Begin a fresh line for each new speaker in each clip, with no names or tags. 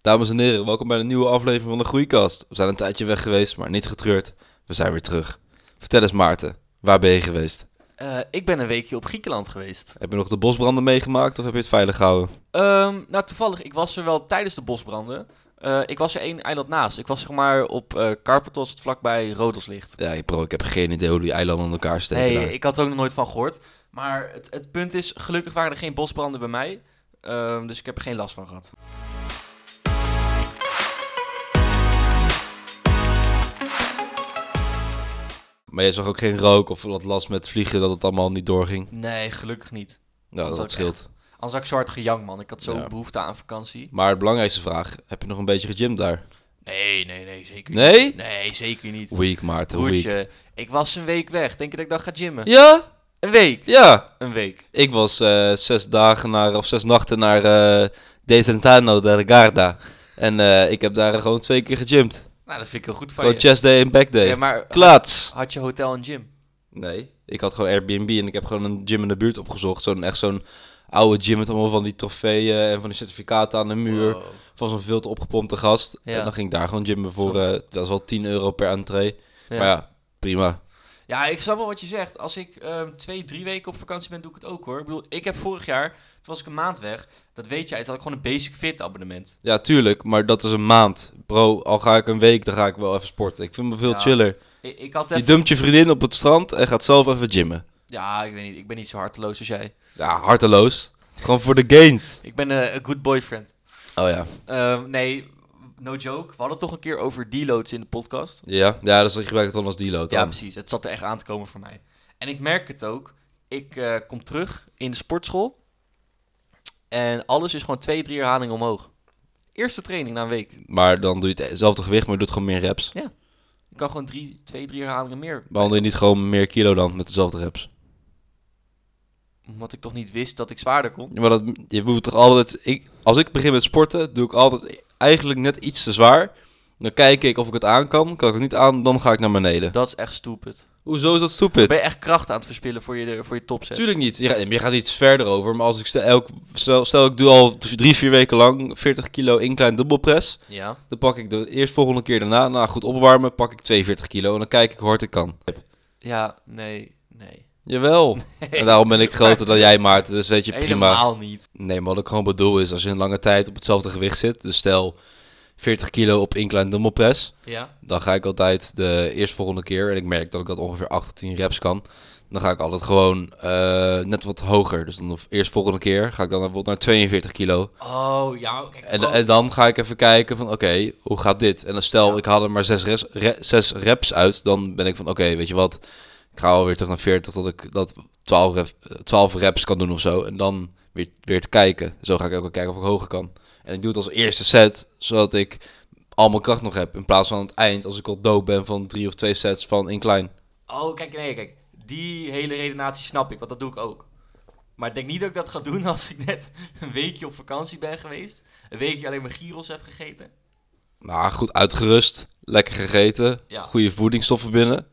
Dames en heren, welkom bij de nieuwe aflevering van de Groeikast. We zijn een tijdje weg geweest, maar niet getreurd. We zijn weer terug. Vertel eens Maarten, waar ben je geweest?
Eh, ik ben een weekje op Griekenland geweest.
Heb je nog de bosbranden meegemaakt of heb je het veilig gehouden?
Ehm, nou, toevallig, ik was er wel tijdens de bosbranden. Eh, ik was er één eiland naast. Ik was zeg maar op eh Carpathos, het vlakbij Rodoslicht.
Ja, ik- bro, ik heb geen idee hoe die eilanden aan elkaar steken
Nee,
daar.
ik had er ook nog nooit van gehoord. Maar het, het punt is, gelukkig waren er geen bosbranden bij mij. Ehm, dus ik heb er geen last van gehad.
Maar je zag ook geen rook of wat last met vliegen dat het allemaal niet doorging.
Nee, gelukkig niet.
Nou, dat,
Dat is ook
scheelt.
Anders had ik zo hard gejang, man. Ik had zo'n
Ja.
behoefte aan vakantie.
Maar de belangrijkste vraag, heb je nog een beetje gegymd daar?
Nee, nee, nee, zeker niet.
Nee?
Nee, zeker niet.
Week Maarten, week.
Goedje. Ik was een week weg. Denk je dat ik dan ga gymmen?
Ja?
Een week.
Ja.
Een week.
Ik was eh, zes dagen naar, of zes nachten naar eh Desenzano de Garda. En eh, ik heb daar gewoon twee keer gegymd.
Nou, dat vind ik heel goed van
Gewoon
je.
chest day en back day.
Ja, maar Ah.
Klaats.
had je hotel en gym?
Nee, ik had gewoon Airbnb en ik heb gewoon een gym in de buurt opgezocht. Zo'n echt zo'n oude gym met allemaal van die trofeeën en van die certificaten aan de muur.
Wow.
Van zo'n veel te opgepompte gast.
Ja.
En dan ging ik daar gewoon gymmen voor,
Zo.
eh, dat is wel 10 euro per entree.
Ja.
Maar
ja.
ja, prima.
ik snap wel wat je zegt. Als ik ehm, twee, drie weken op vakantie ben, doe ik het ook hoor. Ik bedoel, ik heb vorig jaar, toen was ik een maand weg, dat weet jij, toen had ik gewoon een basic fit abonnement.
Ja, tuurlijk, maar dat is een maand. Bro, al ga ik een week, dan ga ik wel even sporten. Ik vind me veel
Ja.
chiller.
Ik, ik had
Je
even...
dumpt je vriendin op het strand en gaat zelf even gymmen.
Ja, ik weet niet, ik ben niet zo harteloos als jij.
Ja, harteloos. Gewoon voor de gains.
Ik ben eh, een good boyfriend.
Oh ja.
Ehm, nee, no joke. We hadden het toch een keer over deloads in de podcast.
Ja, ja dus ik gebruik het dan als deload
Ja,
dan.
precies. Het zat er echt aan te komen voor mij. En ik merk het ook. Ik eh, kom terug in de sportschool. En alles is gewoon twee, drie herhalingen omhoog. Eerste training na een week.
Maar dan doe je hetzelfde gewicht, maar je doet gewoon meer reps.
Ik kan gewoon drie, twee, drie herhalingen meer.
Waarom doe je niet gewoon meer kilo dan met dezelfde reps?
Omdat ik toch niet wist dat ik zwaarder kon.
Ja, maar dat, je moet toch altijd... Ik, als ik begin met sporten, doe ik altijd eigenlijk net iets te zwaar. Dan kijk ik of ik het aan kan. Kan ik het niet aan, dan ga ik naar beneden.
Dat is echt stupid.
Hoezo is dat stupid?
Ben je echt kracht aan het verspillen voor je, voor je topset?
Tuurlijk niet. Je gaat, je gaat iets verder over. Maar als ik stel, elk, stel, stel ik doe al drie, drie, vier weken lang 40 kilo incline dubbelpress.
Ja.
Dan pak ik de eerst volgende keer daarna, na goed opwarmen, pak ik 42 kilo. En dan kijk ik hoe hard ik kan.
Ja, nee, nee.
Jawel. En daarom ben ik groter dan jij, Maarten. Dus weet je, prima.
Helemaal niet.
Nee, maar wat ik gewoon bedoel is, als je een lange tijd op hetzelfde gewicht zit. Dus stel 40 kilo op incline dubbelpress.
Ja.
Dan ga ik altijd de eerstvolgende keer, en ik merk dat ik dat ongeveer 8 tot 10 reps kan. Dan ga ik altijd gewoon eh, net wat hoger. Dus dan de eerstvolgende keer ga ik dan bijvoorbeeld naar 42 kilo.
Oh, ja. Kijk,
En,
oh.
en dan ga ik even kijken van, oké, hoe gaat dit? En dan stel,
Ja.
ik haal er maar zes, res- re- zes reps uit, dan ben ik van, oké, weet je wat? Ik ga alweer terug naar 40, tot ik dat 12, ref- eh, 12 reps kan doen of zo. En dan weer, weer te kijken. Zo ga ik ook wel kijken of ik hoger kan. En ik doe het als eerste set, zodat ik al mijn kracht nog heb. In plaats van aan het eind, als ik al dood ben van drie of twee sets van incline.
Oh, kijk, nee, kijk. Die hele redenatie snap ik, want dat doe ik ook. Maar ik denk niet dat ik dat ga doen als ik net een weekje op vakantie ben geweest. Een weekje alleen maar gyros heb gegeten.
Nou, goed uitgerust, lekker gegeten,
Ja.
goede voedingsstoffen binnen.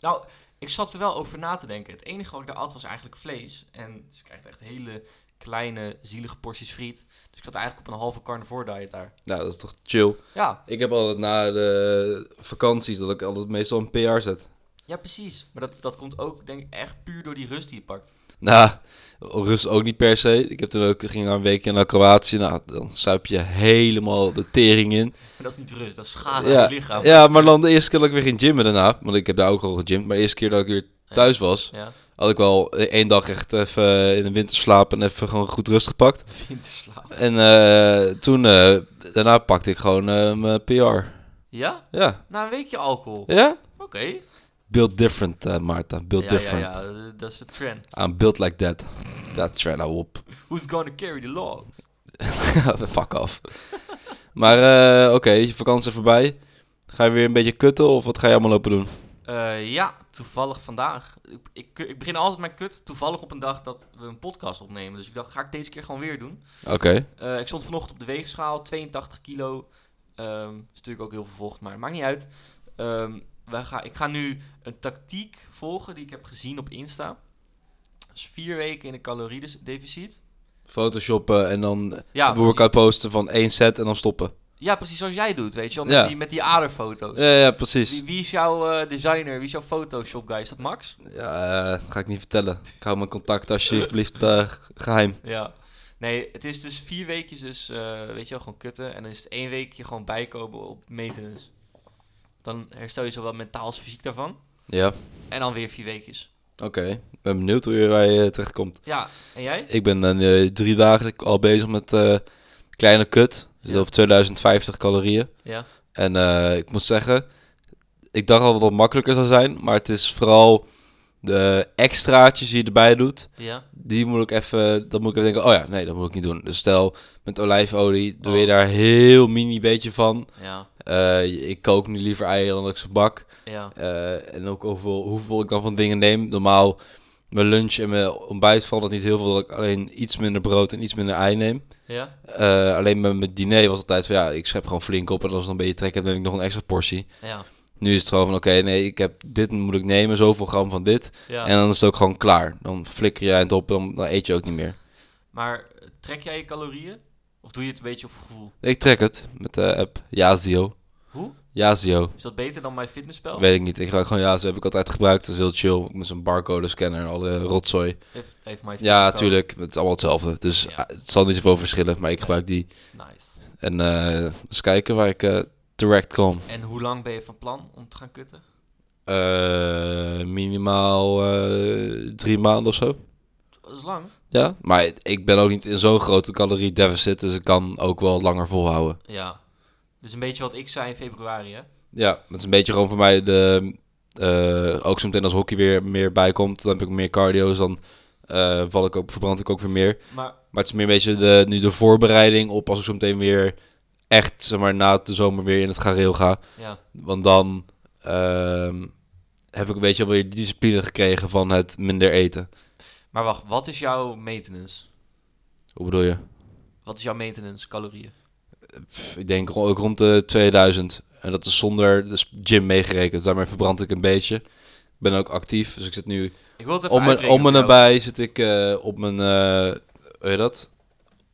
Nou, ik zat er wel over na te denken. Het enige wat ik daar at was eigenlijk vlees. En ze krijgt echt hele kleine, zielige porties friet. Dus ik zat eigenlijk op een halve carnivore diet daar.
Nou, dat is toch chill.
Ja,
Ik heb altijd na de vakanties dat ik altijd meestal een PR zet.
ja precies. Maar dat, dat komt ook, denk ik, echt puur door die rust die je pakt.
Nou, rust ook niet per se. Ik heb toen ook, ging een weekje naar Kroatië. Nou, dan suip je helemaal de tering in.
Maar dat is niet rust, dat is schade aan
ja,
je lichaam.
ja, maar dan de eerste keer dat ik weer ging gymmen daarna. Want ik heb daar ook al gegymd. Maar de eerste keer dat ik weer thuis was,
Ja,
had ik wel één dag echt even in de winter slapen en even gewoon goed rust gepakt.
winterslaap.
En eh, toen, eh, daarna pakte ik gewoon eh, mijn PR.
Ja?
Ja.
Na een weekje alcohol.
Ja?
Oké.
Build different, eh Maarta. Build
ja,
different.
Ja, ja, eh, dat is de trend.
I'm built like that. Dat train nou op.
Who's gonna carry the logs?
Fuck off. maar eh, oké, je vakantie is voorbij. Ga je weer een beetje kutten of wat ga je allemaal lopen doen?
Eh, ja, toevallig vandaag. Ik, ik, ik begin altijd mijn kut toevallig op een dag dat we een podcast opnemen. Dus ik dacht, ga ik deze keer gewoon weer doen.
Oké.
Eh, ik stond vanochtend op de weegschaal, 82 kilo. Ehm is natuurlijk ook heel veel vocht, maar het maakt niet uit. Ehm, wij gaan, ik ga nu een tactiek volgen die ik heb gezien op Insta. Dus vier weken in een caloriedeficit.
Photoshoppen en dan
Ja,
een workout posten van één set en dan stoppen.
ja, precies zoals jij doet, weet je wel. Met,
Ja.
die, met die aderfoto's.
Ja, ja precies.
Wie, wie is jouw eh, designer? Wie is jouw Photoshop guy? Is dat Max?
Ja, eh, ga ik niet vertellen. Ik hou mijn contact alsjeblieft eh, geheim.
Ja. Nee, het is dus vier weekjes dus, eh, weet je wel, gewoon kutten. En dan is het één weekje gewoon bijkomen op maintenance. Dan herstel je zowel mentaal als fysiek daarvan.
Ja,
En dan weer vier weekjes.
oké. Ik ben benieuwd hoe je, waar je terechtkomt.
Ja, en jij?
Ik ben dan eh, drie dagen al bezig met eh, kleine kut. Dus
Ja.
op 2050 calorieën.
Ja.
En eh, ik moet zeggen, ik dacht al dat het makkelijker zou zijn. Maar het is vooral de extraatjes die je erbij doet.
Ja.
Die moet ik even, dan moet ik even denken, oh ja, nee, dat moet ik niet doen. Dus stel, met olijfolie doe je
Oh.
daar heel mini beetje van.
Ja.
Eh, ik kook nu liever eieren dan dat ik ze bak.
Ja.
Eh, en ook hoeveel, hoeveel ik dan van dingen neem. Normaal, mijn lunch en mijn ontbijt valt dat niet heel veel. Dat ik alleen iets minder brood en iets minder ei neem.
Ja.
Eh, alleen met mijn diner was altijd van ja, ik schep gewoon flink op. En als ik nog een beetje trek heb, neem ik nog een extra portie.
Ja.
Nu is het gewoon van oké, nee, ik heb dit moet ik nemen, zoveel gram van dit.
ja.
En dan is het ook gewoon klaar. Dan flikker jij het op en dan, dan eet je ook niet meer.
Maar eh, trek jij je calorieën? Of doe je het een beetje op gevoel?
Ik trek het met de app Yazio.
Hoe?
Yazio.
Is dat beter dan mijn fitnesspel?
Weet ik niet. Ik gebruik gewoon Yazio. Heb ik altijd gebruikt. Dat is heel chill. Met zo'n barcode scanner en alle rotzooi.
Heeft, heeft mijn
Ja,
fitnesspel.
tuurlijk. Het is allemaal hetzelfde. Dus
Oh. Ja.
eh, het zal niet zoveel verschillen, maar ik gebruik die.
Nice.
En eh eens kijken waar ik eh direct kom.
En hoe lang ben je van plan om te gaan kutten?
Eh, minimaal eh, drie maanden of zo.
Dat is lang.
Ja, maar ik ben ook niet in zo'n grote calorie deficit, dus ik kan ook wel langer volhouden.
Ja. Dus een beetje wat ik zei in februari, hè?
Ja, dat is een beetje gewoon voor mij de... eh, ook zo meteen als hockey weer meer bijkomt, dan heb ik meer cardio, dus dan eh, val ik ook, verbrand ik ook weer meer.
Maar
Maar het is meer een beetje de, nu de voorbereiding op als ik zo meteen weer echt, zeg maar, na de zomer weer in het gareel ga.
ja,
Want dan ehm, heb ik een beetje alweer die discipline gekregen van het minder eten.
maar wacht, wat is jouw maintenance?
Hoe bedoel je?
Wat is jouw maintenance calorieën?
Pff, Ik denk ro- ook rond de 2000. En dat is zonder de s- gym meegerekend. Dus daarmee verbrand ik een beetje. Ik ben ook actief, dus ik zit nu...
Ik wil het even
Om en,
uitrekenen
om en
voor jou.
nabij zit ik eh, op mijn... eh hoe heet dat?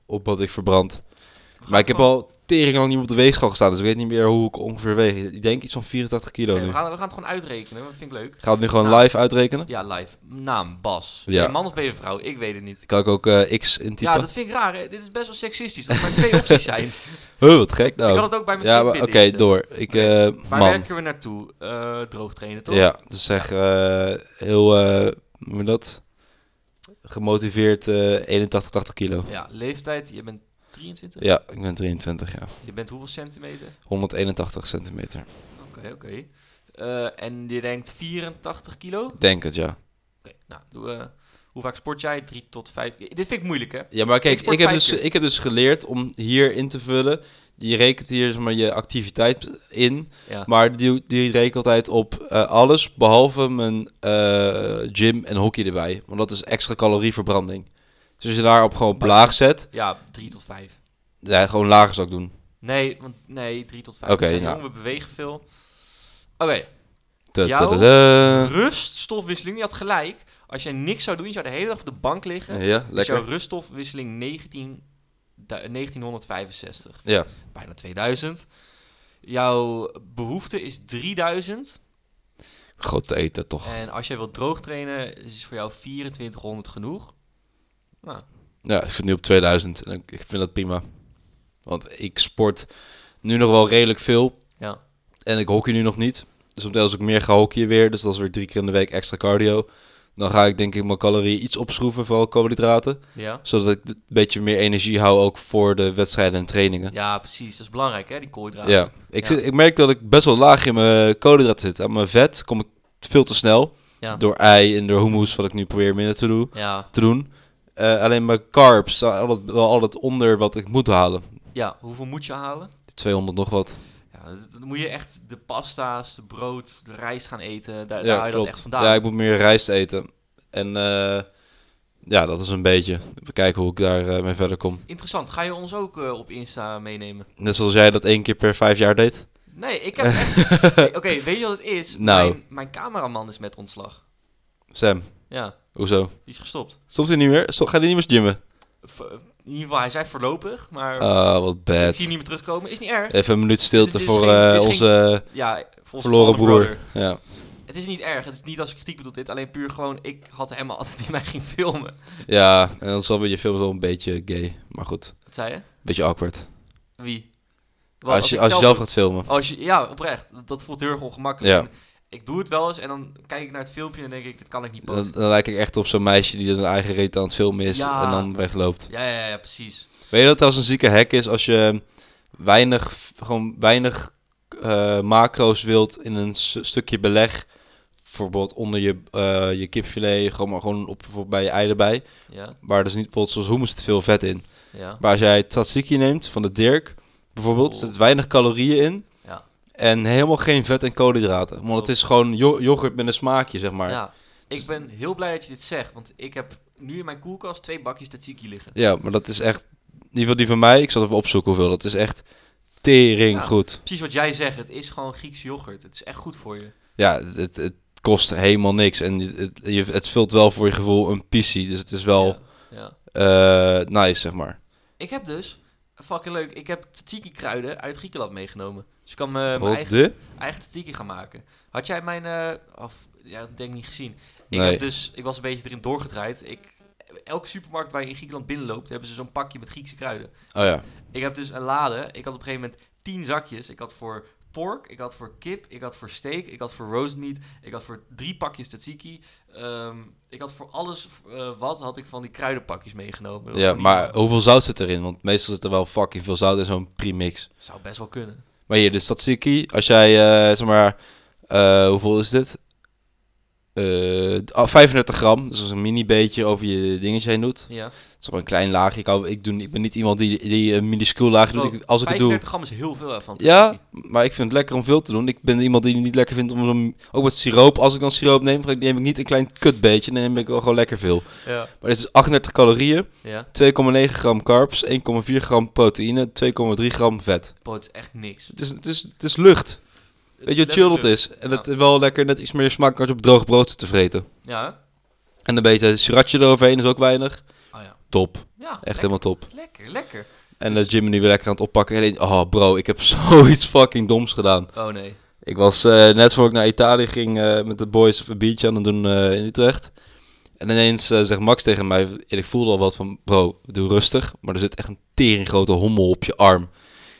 Op wat ik verbrand.
We gaan
Maar ik heb
gewoon-
al tering lang niet op de weegschaal gestaan, dus ik weet niet meer hoe ik ongeveer weeg. Ik denk iets van 84 kilo
Nee,
nu.
we, gaan, we gaan het gewoon uitrekenen, dat vind ik leuk.
Ga het nu gewoon
Nou.
live uitrekenen?
Ja, live. Naam, Bas.
Ja.
Ben je man of ben je vrouw? Ik weet het niet.
Kan ik ook eh, X intypen?
Ja, dat vind ik raar. Hè? Dit is best wel seksistisch. Dat er maar twee opties zijn.
Huh, wat gek nou.
Ik had het ook bij mijn
Oh. ja, maar
Fitbit
oké,
instellen.
door. Ik, eh,
Waar
man.
werken we naartoe? Eh droog trainen, toch?
Ja, dus zeg eh, heel, eh, hoe noem je dat? Gemotiveerd eh 81, 80 kilo.
Ja, leeftijd. Je bent 23?
Ja, ik ben 23 jaar.
Je bent hoeveel centimeter?
181 centimeter.
Oké, oké. Eh, en je denkt 84 kilo? Oké,
Ik Denk het, ja.
nou, doe, eh, hoe vaak sport jij? 3 tot 5 keer. Dit vind ik moeilijk, hè?
Ja, maar kijk,
Ik sport
ik heb,
vijf
dus,
keer.
ik heb dus geleerd om hier in te vullen. Je rekent hier zeg maar, je activiteit in.
Ja.
Maar die, die reken altijd op eh, alles behalve mijn eh, gym en hockey erbij. Want dat is extra calorieverbranding. Dus als je daarop gewoon op
Maar-
laag zet,
Ja, 3 tot 5.
ja, gewoon lager zou ik doen.
Nee, want nee, 3 tot 5.
Oké,
we, zijn
nou.
jong, we bewegen veel. Oké,
Tuh, tuh,
Jouw-
tuh, tuh.
ruststofwisseling. Je had gelijk. Als jij niks zou doen, je zou de hele dag op de bank liggen.
Ja,
is jouw
lekker.
ruststofwisseling 19, du- 1965.
Ja.
Bijna 2000. Jouw behoefte is 3000.
Goed te eten toch.
En als jij wilt droog trainen, is voor jou 2400 genoeg. Nou,
Ja, ik zit nu op 2000 en ik ik vind dat prima. Want ik sport nu nog wel redelijk veel.
ja.
En ik hockey nu nog niet. Dus op als ik meer ga hockeyen weer, dus dat is weer drie keer in de week extra cardio. Dan ga ik denk ik mijn calorieën iets opschroeven, vooral koolhydraten.
Ja.
Zodat ik d- een beetje meer energie hou ook voor de wedstrijden en trainingen.
ja, precies. Dat is belangrijk, hè, die
Ja,
koolhydraten.
Ik,
Ja.
Zit, ik merk dat ik best wel laag in mijn koolhydraten zit. Aan mijn vet kom ik veel te snel.
Ja.
Door ei en door hummus, wat ik nu probeer minder te, doen.
Ja,
te doen. Eh, alleen mijn carbs staan altijd, wel altijd onder wat ik moet halen.
ja. Hoeveel moet je halen?
200 nog wat.
Ja, dat- dan moet je echt de pasta's, de brood, de rijst gaan eten. Daar, daar
ja,
haal je dat
klopt.
echt vandaan.
Ja, ik moet meer rijst eten. En eh, ja, dat is een beetje. We kijken hoe ik daar eh, mee verder kom.
Interessant. Ga je ons ook eh, op Insta meenemen?
Net zoals jij dat één keer per vijf jaar deed.
Nee, ik heb echt... Oké, weet je wat het is?
Nou.
Mijn, mijn cameraman is met ontslag.
Sam,
Ja,
hoezo?
die is gestopt.
Stopt hij niet meer? Stop, gaat hij niet meer gymmen?
v- eh, in ieder geval, hij zei voorlopig, maar
Ah, wat
ik
bad.
zie hem niet meer terugkomen. Is niet erg.
Even een minuut
Dit
stilte
is
voor
Dus- geen-
eh,
dit is
onze
Ja, volgens
verloren broer.
Brother.
Ja.
Het is niet erg. Het is niet als kritiek bedoelt dit. Alleen puur gewoon, ik had hem altijd die mij ging filmen.
ja, en dan is wel een beetje film wel een beetje gay. Maar goed,
Wat zei je?
beetje awkward.
Wie? Wat,
Als je,
ik
als je zelf gaat filmen.
Als je, ja, oprecht. Dat, dat voelt heel erg ongemakkelijk.
Ja.
En Ik doe het wel eens en dan kijk ik naar het filmpje en denk ik, dit kan ik niet
Dan,
posten.
dan lijk ik echt op zo'n meisje die een eigen reet aan het filmen is
Ja.
en dan wegloopt.
Ja, ja, ja, precies.
Weet je dat het als een zieke hack is als je weinig, gewoon weinig eh, macro's wilt in een s- stukje beleg? Bijvoorbeeld onder je, eh, je kipfilet, gewoon, maar gewoon op, bijvoorbeeld bij je ei erbij.
Ja,
Waar dus niet bijvoorbeeld zoals hummus zit veel vet in.
ja.
Maar als jij tzatziki neemt van de Dirk, bijvoorbeeld,
Oh.
zit weinig calorieën in.
Ja.
En helemaal geen vet en koolhydraten. Want het is gewoon jo- yoghurt met een smaakje, zeg maar. Ja,
ja. Ik ben heel blij dat je dit zegt, want ik heb nu in mijn koelkast twee bakjes tzatziki liggen.
maar dat is echt... In ieder geval die van mij, ik zal even opzoeken hoeveel. Dat is echt tering
Ja.
goed.
Precies wat jij zegt, het is gewoon Grieks yoghurt. Het is echt goed voor je.
Ja, het, het kost helemaal niks. En het, het, je- het vult wel voor je gevoel een pissie. Dus het is wel
Ja, ja.
eh, nice, zeg maar.
Ik heb dus, fucking leuk, ik heb tzatziki kruiden uit Griekenland meegenomen. Dus ik kan eh, mijn
Wat
eigen,
de?
eigen tzatziki gaan maken. Had jij mijn, eh, of, ja, dat denk ik niet gezien. Ik,
Nee.
heb dus, ik was een beetje erin doorgedraaid. Ik, elke supermarkt waar je in Griekenland binnenloopt, hebben ze zo'n pakje met Griekse kruiden.
Oh ja.
Ik heb dus een lade. Ik had op een gegeven moment tien zakjes. Ik had voor pork, ik had voor kip, ik had voor steak, ik had voor roast meat, ik had voor drie pakjes tzatziki. Ehm, ik had voor alles eh, wat, had ik van die kruidenpakjes meegenomen. Dat was
ja
gewoon
maar
niet-
hoeveel zout zit erin? Want meestal zit er wel fucking veel zout in zo'n premix.
Zou best wel kunnen.
Maar hier, de Statsiki, als jij, eh, zeg maar, eh, hoeveel is dit? Eh, ah, 35 gram, dus als een mini beetje over je dingetje heen doet.
Ja.
Dat is wel een klein laagje. Ik, hou, ik, doe, ik ben niet iemand die, die een minuscuul laagje doet. Ik- als ik het doe...
35 gram is heel veel hè, van
Ja,
tzatziki.
maar ik vind het lekker om veel te doen. Ik ben iemand die het niet lekker vindt om zo'n... Ook met siroop, als ik dan siroop neem, neem ik niet een klein kutbeetje. Dan neem ik wel gewoon lekker veel.
Ja.
Maar dit is 38 calorieën, 2,9
ja.
gram carbs, 1,4 gram proteïne, 2,3 gram vet.
Bro, het is echt niks.
Het is, het is, het is lucht. Weet je,
Het
hoe
is
chill dat
letterlijk-
is. En het is wel lekker net iets meer smaak als je op droog brood zit te vreten.
Ja, hè?
En een beetje sriracha eroverheen is ook weinig.
Oh ja.
Top. Echt
Ja, lekker,
helemaal top.
Lekker, lekker.
En dat Jimmy nu weer lekker aan het oppakken. En ik denk, oh bro, ik heb zoiets fucking doms gedaan.
Oh nee.
Ik was eh, net voor ik naar Italië ging eh, met de boys of een biertje aan het doen eh, in Utrecht. En ineens eh, zegt Max tegen mij, en ik voelde al wat van, bro, doe rustig. Maar er zit echt een teringgrote hommel op je arm.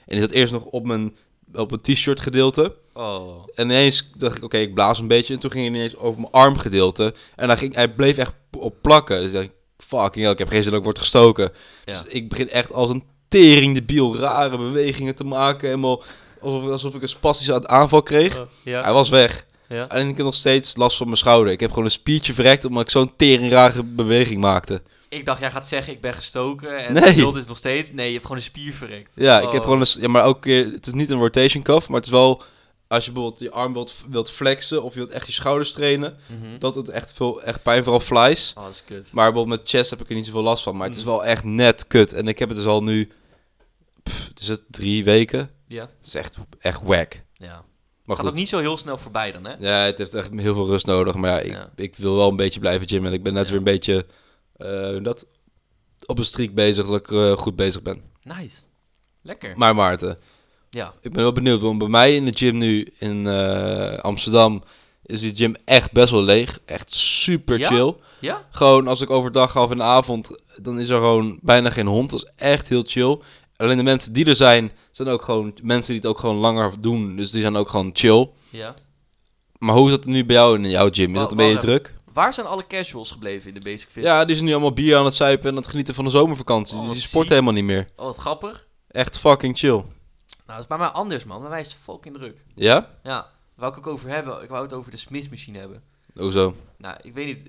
En die zat eerst nog op mijn, op mijn t-shirt gedeelte.
Oh.
En ineens dacht ik, oké, ik blaas een beetje. En toen ging hij ineens over mijn armgedeelte. En hij, ging, hij bleef echt p- op plakken. Dus ik dacht, fucking hell, ik heb geen zin dat ik word gestoken.
Ja.
Dus ik begin echt als een tering de biel rare bewegingen te maken. Helemaal alsof, alsof ik een spastische a- aanval kreeg. Hij
Oh, ja.
was weg.
Ja.
Alleen ik heb nog steeds last van mijn schouder. Ik heb gewoon een spiertje verrekt omdat ik zo'n teringrare beweging maakte.
Ik dacht, jij gaat zeggen, ik ben gestoken en
Nee.
het beeld is nog steeds... Nee, je hebt gewoon een spier verrekt.
Ja, ik
Oh.
heb gewoon een... s- Ja, maar ook weer... Het is niet een rotation cuff, maar het is wel... Als je bijvoorbeeld je arm wilt, wilt flexen of je wilt echt je schouders trainen...
Mhm.
Dat doet echt veel echt pijn, vooral flies.
Oh, dat is kut.
Maar bijvoorbeeld met chest heb ik er niet zoveel last van. Maar het
Mm.
is wel echt net kut. En ik heb het dus al nu, pff, het is het drie weken.
Ja.
Het is echt, echt whack.
ja.
Maar
Gaat
goed.
ook niet zo heel snel voorbij dan, hè?
Ja, het heeft echt heel veel rust nodig. Maar ja, ik,
Ja.
ik wil wel een beetje blijven gymmen. En ik ben net
Ja.
weer een beetje eh, dat, op een streak bezig, dat ik eh, goed bezig ben.
Nice. Lekker.
Maar Maarten,
Ja.
ik ben wel benieuwd. Want bij mij in de gym nu in eh, Amsterdam is die gym echt best wel leeg. Echt super
Ja?
chill.
Ja?
Gewoon als ik overdag ga of in de avond, dan is er gewoon bijna geen hond. Dat is echt heel chill. Alleen de mensen die er zijn, zijn ook gewoon mensen die het ook gewoon langer doen. Dus die zijn ook gewoon chill.
Ja.
Maar hoe is dat nu bij jou in jouw gym? Is dat een
Wa-
beetje
wacht
druk?
Waar zijn alle casuals gebleven in de Basic Fit?
Ja, die zijn nu allemaal bier aan het zuipen en aan het genieten van de zomervakantie.
Oh,
Dus
wat
die sporten
ziek.
helemaal niet meer.
Oh, wat grappig.
Echt fucking chill.
Nou, dat is bij mij anders, man. Bij mij is het fucking druk.
Ja?
Ja. Wou ik ook over hebben. Ik wou het over de Smith-machine hebben.
Hoezo?
Nou, ik weet niet.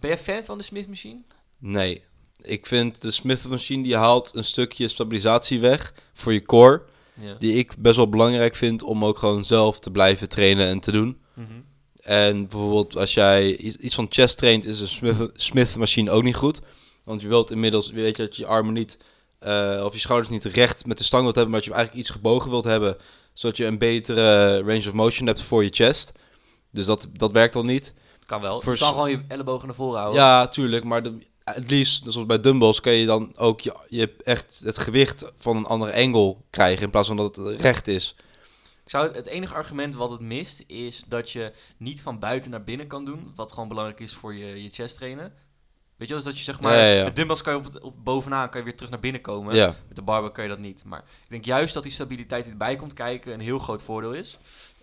Ben je fan van de Smith-machine?
Nee. Ik vind de Smith machine die haalt een stukje stabilisatie weg voor je core.
Ja.
Die ik best wel belangrijk vind om ook gewoon zelf te blijven trainen en te doen.
Mhm.
En bijvoorbeeld als jij iets iets van chest traint, is een Smith, Smith machine ook niet goed. Want je wilt inmiddels, weet je, dat je je armen niet, eh, of je schouders niet recht met de stang wilt hebben, maar dat je hem eigenlijk iets gebogen wilt hebben, zodat je een betere range of motion hebt voor je chest. Dus dat, dat werkt al niet.
Kan wel.
Voor
Je kan
s-
gewoon je ellebogen naar voren houden.
Ja, tuurlijk, maar de, het liefst, zoals bij dumbbells, kun je dan ook je, je echt het gewicht van een andere engel krijgen in plaats van dat het recht is.
Ik zou het, het enige argument wat het mist is dat je niet van buiten naar binnen kan doen, wat gewoon belangrijk is voor je, je chest trainen. Weet je wel, dus dat je zeg maar,
Ja, ja, ja.
met dumbbells kan je op, het- op bovenaan kan je weer terug naar binnen komen.
Ja,
Met de barbell kan je dat niet. Maar ik denk juist dat die stabiliteit die erbij komt kijken een heel groot voordeel is.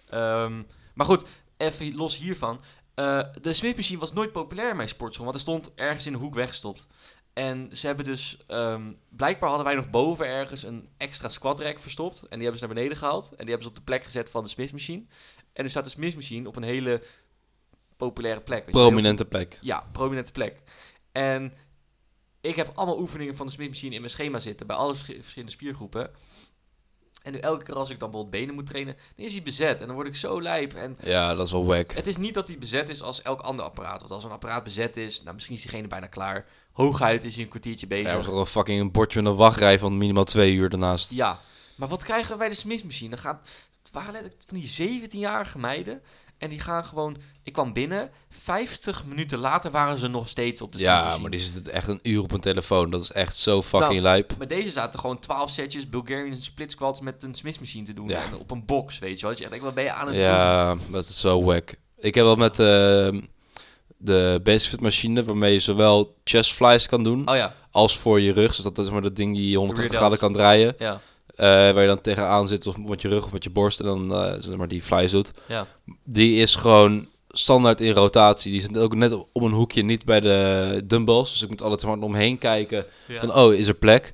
Ehm, maar goed, even los hiervan. Eh, de Smith Machine was nooit populair in mijn sportschool, want er stond ergens in de hoek weggestopt. En ze hebben dus, ehm, blijkbaar hadden wij nog boven ergens een extra squat rack verstopt. En die hebben ze naar beneden gehaald. En die hebben ze op de plek gezet van de Smith Machine. En nu staat de Smith Machine op een hele populaire plek. weet je, heel
prominente plek.
ja, prominente plek. En ik heb allemaal oefeningen van de Smith Machine in mijn schema zitten. Bij alle versch- verschillende spiergroepen. En nu elke keer als ik dan bijvoorbeeld benen moet trainen, dan is hij bezet. En dan word ik zo lijp. En
Ja, dat is wel wack.
het is niet dat hij bezet is als elk ander apparaat. Want als een apparaat bezet is, nou misschien is diegene bijna klaar. Hooguit is hij een kwartiertje
Ja,
bezig.
we gewoon fucking een bordje met een wachtrij van minimaal twee uur daarnaast.
Ja, maar wat krijgen we bij de smismachine? Dan gaat, het waren letterlijk van die 17-jarige meiden. En die gaan gewoon... Ik kwam binnen, 50 minuten later waren ze nog steeds op de smismachine.
Ja, maar die zit echt een uur op een telefoon. Dat is echt zo fucking
Nou,
lijp.
Maar deze zaten gewoon 12 setjes Bulgarian split squats met een Smith machine te doen.
Ja.
En op een box, weet je wel. Dat je echt denkt, wat ben je aan het doen?
Ja, dat is zo wack. Ik heb wel met eh, de basic fit machine waarmee je zowel chest flies kan doen
Oh ja,
als voor je rug. Dus dat is maar dat ding die je 180
Rear
graden kan draaien.
ja,
eh, waar je dan tegenaan zit of met je rug of met je borst en dan eh, zeg maar die flies doet.
ja.
Die is gewoon standaard in rotatie. Die zit ook net om een hoekje, niet bij de dumbbells. Dus ik moet altijd gewoon omheen kijken
ja.
van oh, is er plek?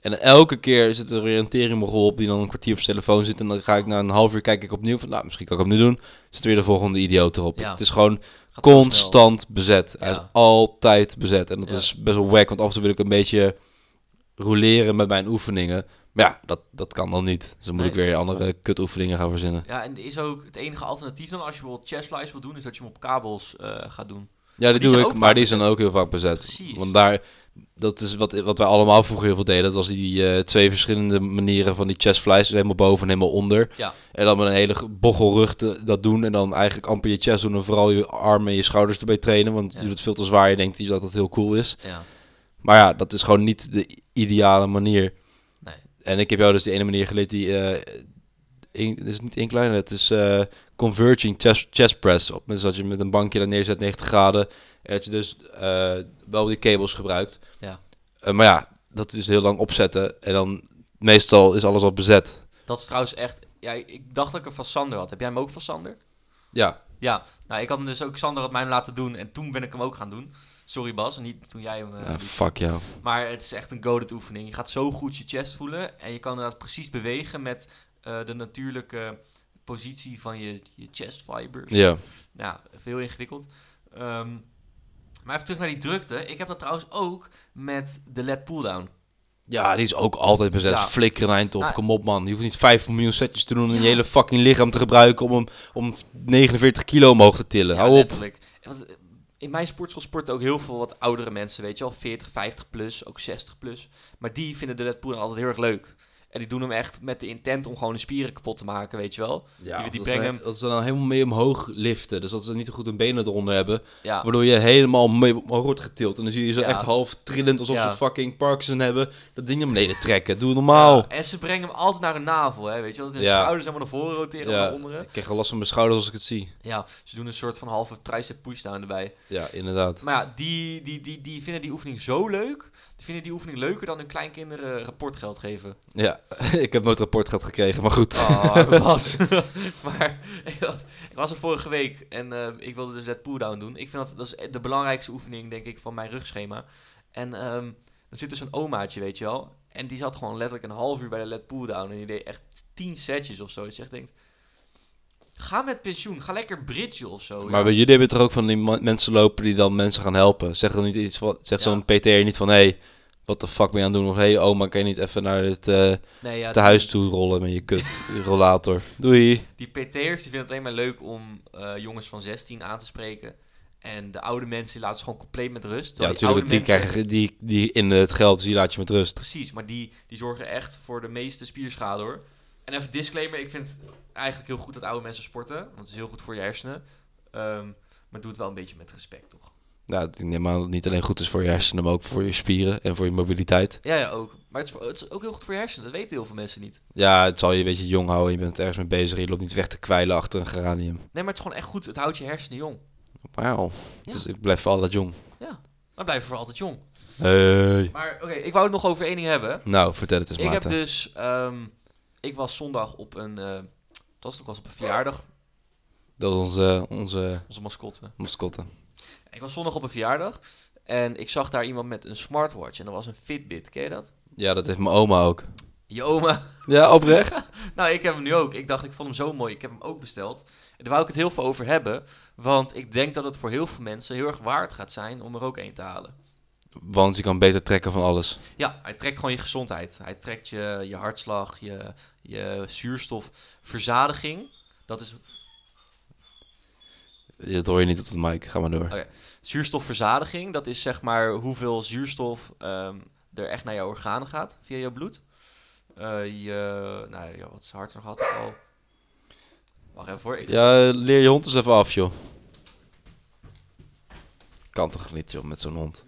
En elke keer zit er weer een teringmogel op die dan een kwartier op zijn telefoon zit. En dan ga ik na een half uur kijk ik opnieuw van, nou, misschien kan ik hem nu doen. Zit weer de volgende idioot erop.
Ja.
Het is gewoon
Gaat zo snel.
constant bezet. Hij
Ja.
is altijd bezet. En dat
Ja.
is best wel wack, want af en toe wil ik een beetje roleren met mijn oefeningen. Maar ja, dat, dat kan dan niet. Dus dan moet
Nee.
ik weer andere kutoefeningen gaan verzinnen.
Ja, en er is ook het enige alternatief dan als je bijvoorbeeld chest flies wil doen, is dat je hem op kabels eh, gaat doen.
Ja, die,
die
doe
zijn
ik,
ook
maar
vaak
die zijn ook heel vaak bezet.
Precies.
Want daar, dat is wat, wat wij allemaal vroeger heel veel deden. Dat was die eh, twee verschillende manieren van die chest flies. Helemaal boven en helemaal onder.
Ja.
En dan met een hele ge- bochelrug te- dat doen. En dan eigenlijk amper je chest doen. En vooral je armen en je schouders erbij trainen. Want
Ja.
je doet het veel te zwaar. Je denkt dat dat heel cool is.
Ja,
Maar ja, dat is gewoon niet de i- ideale manier.
nee.
En ik heb jou dus die ene manier geleerd die... eh, in- het is niet incline, het is eh, converging chest, chest press. Op, dus dat je met een bankje daar neerzet, 90 graden. En dat je dus eh, wel die kabels gebruikt.
Ja.
Eh, maar ja, dat is heel lang opzetten. En dan meestal is alles al bezet.
Dat is trouwens echt... Ja, ik dacht dat ik hem van Sander had. Heb jij hem ook van Sander?
Ja,
Ja, nou ik had hem dus ook, Sander had mij hem laten doen en toen ben ik hem ook gaan doen. Sorry Bas, en niet toen jij hem... eh,
Ah,
liet
fuck jou.
Maar het is echt een goaded oefening. Je gaat zo goed je chest voelen. En je kan inderdaad precies bewegen met eh, de natuurlijke positie van je, je chest fibers.
Ja,
Nou, heel ingewikkeld. Ehm, maar even terug naar die drukte. Ik heb dat trouwens ook met de led pulldown.
ja die is ook altijd bezet.
Ja.
Flikker een eind op,
Nou,
kom op man. Je hoeft niet 5 miljoen setjes te doen en
Ja.
je hele fucking lichaam te gebruiken om, hem, om 49 kilo omhoog te tillen.
Ja,
Hou op.
letterlijk. Want, eh, in mijn sportschool sporten ook heel veel wat oudere mensen, weet je wel. 40, 50 plus, ook 60 plus. Maar die vinden de led pulldown altijd heel erg leuk. En die doen hem echt met de intent om gewoon de spieren kapot te maken, weet je wel.
Ja,
Die- die
dat,
brengen
ze, dat ze dan helemaal mee omhoog liften. Dus dat ze niet goed hun benen eronder hebben.
Ja.
Waardoor je helemaal mee omhoog wordt getild. En dan zie je ze
Ja.
echt half trillend alsof
Ja.
ze fucking Parkinson hebben. Dat ding naar beneden trekken. Doe normaal.
Ja, en ze brengen hem altijd naar hun navel, hè, weet je wel. De
Ja.
schouders helemaal naar voren roteren
Ja,
en naar onderen.
ik krijg al last van mijn schouders als ik het zie.
Ja, ze doen een soort van halve tricep pushdown erbij.
Ja, inderdaad.
Maar ja, die, die, die, die vinden die oefening zo leuk. Die vinden die oefening leuker dan hun kleinkinderen rapportgeld geven.
Ja, ik heb nooit rapport gehad gekregen, maar goed.
Oh, was. maar ik was, ik was er vorige week en eh, ik wilde dus dat pulldown doen. Ik vind dat, dat is de belangrijkste oefening, denk ik, van mijn rugschema. En ehm er zit dus een omaatje, weet je wel. En die zat gewoon letterlijk een half uur bij de led pulldown. En die deed echt tien setjes of zo. Dat je echt denkt, ga met pensioen. Ga lekker bridgen of zo.
Maar
ja.
bij jullie hebben toch ook van die ma- mensen lopen die dan mensen gaan helpen. Zeg dan niet iets van, zeg
Ja.
zo'n PTR niet van, hé, hey, wat de fuck ben je aan het doen? Of hé, hey, oma, kan je niet even naar het eh
nee, ja,
te huis toe rollen met je kut rollator? Doei.
Die PT'ers die vinden het alleen maar leuk om eh, jongens van 16 aan te spreken. En de oude mensen die laten ze gewoon compleet met rust.
Ja,
terwijl die
natuurlijk. Die,
oude mensen-
krijgen, die, die in het geld, dus die laat je met rust.
Precies, maar die, die zorgen echt voor de meeste spierschade hoor. En even disclaimer, ik vind het eigenlijk heel goed dat oude mensen sporten. Want het is heel goed voor je hersenen. Ehm, maar doe het wel een beetje met respect, toch?
Nou, ik neem aan dat het niet alleen goed is voor je hersenen, maar ook voor je spieren en voor je mobiliteit.
Ja, ja, ook. Maar het is, voor- het is ook heel goed voor je hersenen. Dat weten heel veel mensen niet.
Ja, het zal je een beetje jong houden. Je bent ergens mee bezig. Je loopt niet weg te kwijlen achter een geranium.
Nee, maar het is gewoon echt goed. Het houdt je hersenen jong.
Wauw.
Ja.
Dus ik blijf voor altijd jong.
Maar blijven voor altijd jong.
Hey.
Maar oké, ik wou het nog over één ding hebben.
Nou, vertel het eens,
Ik heb
Maarten.
dus... ehm, ik was zondag op een... eh, het was, ik was op een verjaardag.
Dat is onze, onze
Onze mascotte.
mascotte.
Ik was zondag op een verjaardag. En ik zag daar iemand met een smartwatch. En dat was een Fitbit. Ken je dat?
Ja, dat heeft mijn oma ook.
Je oma.
Ja, oprecht?
Nou, ik heb hem nu ook. Ik dacht, ik vond hem zo mooi. Ik heb hem ook besteld. En daar wou ik het heel veel over hebben. Want ik denk dat het voor heel veel mensen heel erg waard gaat zijn om er ook één te halen.
Want je kan beter trekken van alles.
Ja, hij trekt gewoon je gezondheid. Hij trekt je, je hartslag, je, je zuurstofverzadiging. Dat is
Dat hoor je niet op de mic. Ga maar door.
zuurstofverzadiging. Dat is zeg maar hoeveel zuurstof ehm, er echt naar jouw organen gaat via jouw bloed. Eh, je, nou ja, wat is hartslag had ik al. Wacht even voor. Ik,
Ja, leer je hond eens even af, joh. Kan toch niet, joh, met zo'n hond.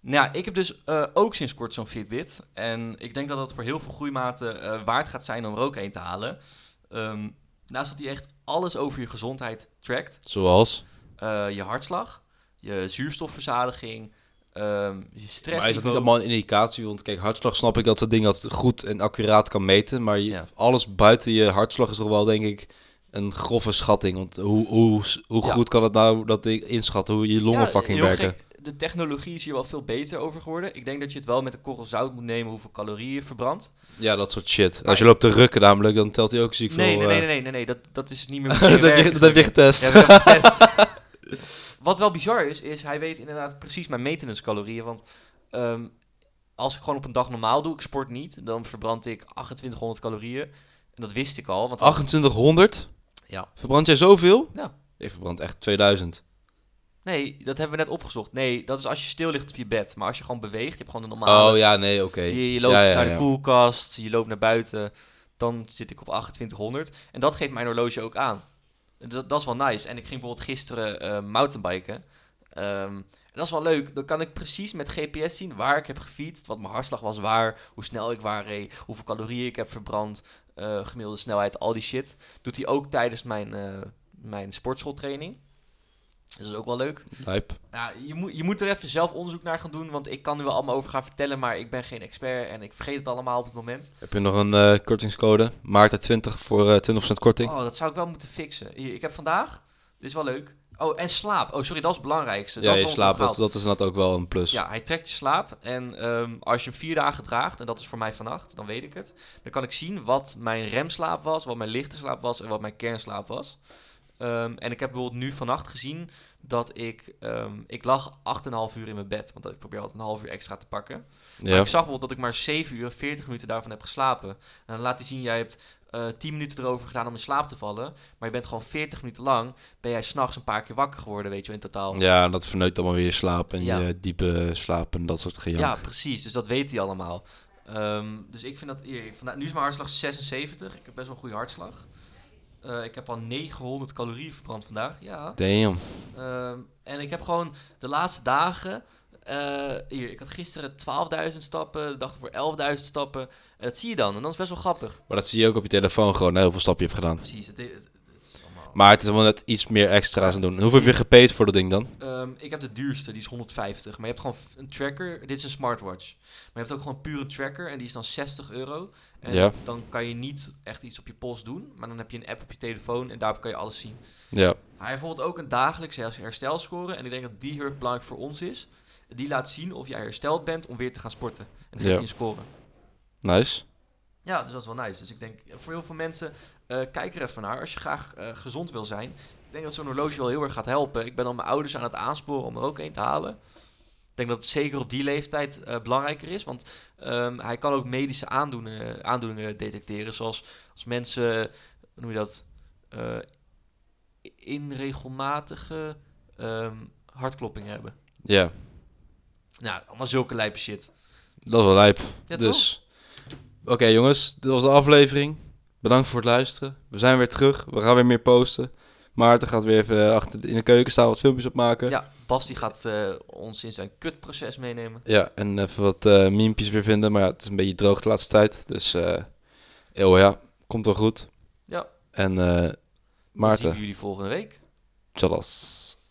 Nou, ja, ik heb dus eh, ook sinds kort zo'n Fitbit. En ik denk dat dat voor heel veel groeimaten eh, waard gaat zijn om er ook een te halen. Ehm, naast dat hij echt alles over je gezondheid trackt.
Zoals?
eh, je hartslag, je zuurstofverzadiging, ehm, je stress.
maar is dat niet allemaal een indicatie? Want kijk, hartslag snap ik dat dat ding dat goed en accuraat kan meten. Maar je-
Ja.
alles buiten je hartslag is toch wel, denk ik, een grove schatting. Want hoe, hoe, hoe
Ja.
goed kan het nou dat ding inschatten? Hoe je longen fucking werken?
De technologie is hier wel veel beter over geworden. Ik denk dat je het wel met een korrel zout moet nemen hoeveel calorieën je verbrandt.
Ja, dat soort shit. Als je loopt te rukken namelijk, dan telt hij ook ziek
Nee,
veel.
nee,
eh,
nee, nee, nee, nee, dat, dat is niet meer. hoe dingen
dat, heb je,
werken.
dat heb je getest.
Ja, dat heb ik getest. Wat wel bizar is, is hij weet inderdaad precies mijn maintenance calorieën. Want ehm, als ik gewoon op een dag normaal doe, ik sport niet, dan verbrand ik 2800 calorieën. En dat wist ik al. Want
2800?
Ja.
Verbrand jij zoveel?
Ja.
Ik verbrand echt 2000.
Nee, dat hebben we net opgezocht. Nee, dat is als je stil ligt op je bed. Maar als je gewoon beweegt, je hebt gewoon de normale...
Oh ja, nee, oké.
je, je loopt
Ja, ja,
naar
ja.
de koelkast, je loopt naar buiten. Dan zit ik op 2800. En dat geeft mijn horloge ook aan. En Dat, dat is wel nice. En ik ging bijvoorbeeld gisteren eh, mountainbiken. Ehm, en dat is wel leuk. Dan kan ik precies met GPS zien waar ik heb gefietst. Wat mijn hartslag was waar. Hoe snel ik waar reed. Hoeveel calorieën ik heb verbrand. eh, gemiddelde snelheid. Al die shit. Doet hij ook tijdens mijn, eh, mijn sportschooltraining. Dus Dat is ook wel leuk.
Lijp.
Ja, je, moet, je moet er even zelf onderzoek naar gaan doen, want ik kan nu wel allemaal over gaan vertellen, maar ik ben geen expert en ik vergeet het allemaal op het moment.
Heb je nog een eh, kortingscode? Maarten20 voor eh 20% korting.
Oh, dat zou ik wel moeten fixen. Hier, ik heb vandaag, dit is wel leuk. Oh, en slaap. Oh, sorry, dat is het belangrijkste.
ja,
dat
je
is
slaapt. Dat,
onopgehaald.
dat is inderdaad ook wel een plus.
Ja, hij trekt je slaap en ehm, als je hem vier dagen draagt, en dat is voor mij vannacht, dan weet ik het. Dan kan ik zien wat mijn remslaap was, wat mijn lichte slaap was en wat mijn kernslaap was. Ehm, en ik heb bijvoorbeeld nu vannacht gezien dat ik, ehm, ik lag 8,5 uur in mijn bed, want ik probeer altijd een half uur extra te pakken. Maar
Ja.
ik zag bijvoorbeeld dat ik maar 7 uur en 40 minuten daarvan heb geslapen. En dan laat hij zien, jij hebt eh 10 minuten erover gedaan om in slaap te vallen. Maar je bent gewoon 40 minuten lang, ben jij s'nachts een paar keer wakker geworden, weet je wel, in totaal.
Ja, dat verneukt allemaal weer je slaap en
Ja.
je diepe slaap en dat soort gejank.
Ja, precies. Dus dat weet hij allemaal. Ehm, dus ik vind dat... Hier, vandaag, nu is mijn hartslag 76. Ik heb best wel een goede hartslag. Eh, ik heb al 900 calorieën verbrand vandaag. Ja.
Damn.
Ehm, en ik heb gewoon de laatste dagen. eh, hier, ik had gisteren 12.000 stappen, de dag ervoor 11.000 stappen. En dat zie je dan. En dat is best wel grappig.
Maar dat zie je ook op je telefoon gewoon, hè, hoeveel stap je hebt gedaan.
Precies. Het, het- het is allemaal.
Maar het is wel net iets meer extra's aan doen. En Hoeveel heb je gepaid voor dat ding dan?
Ehm, ik heb de duurste, die is 150. Maar je hebt gewoon f- een tracker. Dit is een smartwatch. Maar je hebt ook gewoon puur een tracker. En die is dan 60 euro. En
Ja.
dan kan je niet echt iets op je pols doen. Maar dan heb je een app op je telefoon. En daarop kan je alles zien.
Ja.
Hij heeft bijvoorbeeld ook een dagelijkse her- herstelscore. En ik denk dat die heel erg belangrijk voor ons is. Die laat zien of jij hersteld bent om weer te gaan sporten. En dan
Ja.
geeft hij een score.
Nice.
Ja, dus dat is wel nice. Dus ik denk, eh, voor heel veel mensen, eh, kijk er even naar. Als je graag eh, gezond wil zijn. Ik denk dat zo'n horloge wel heel erg gaat helpen. Ik ben al mijn ouders aan het aansporen om er ook een te halen. Ik denk dat het zeker op die leeftijd eh, belangrijker is. Want ehm, hij kan ook medische aandoeningen, aandoeningen detecteren. Zoals als mensen, hoe noem je dat, eh, inregelmatige ehm hartkloppingen hebben.
Ja.
Nou, allemaal zulke lijpe shit.
Dat is wel lijp.
Ja,
dus. Oké jongens, dit was de aflevering. Bedankt voor het luisteren. We zijn weer terug. We gaan weer meer posten. Maarten gaat weer even achter de- in de keuken staan wat filmpjes opmaken.
Ja, Bas die gaat eh, ons in zijn kutproces meenemen.
Ja, en even wat eh miempjes weer vinden. Maar ja, het is een beetje droog de laatste tijd. Dus eh eeuw, ja, komt wel goed.
Ja.
En eh
Dan zien
Maarten,
we jullie volgende week.
tjallas.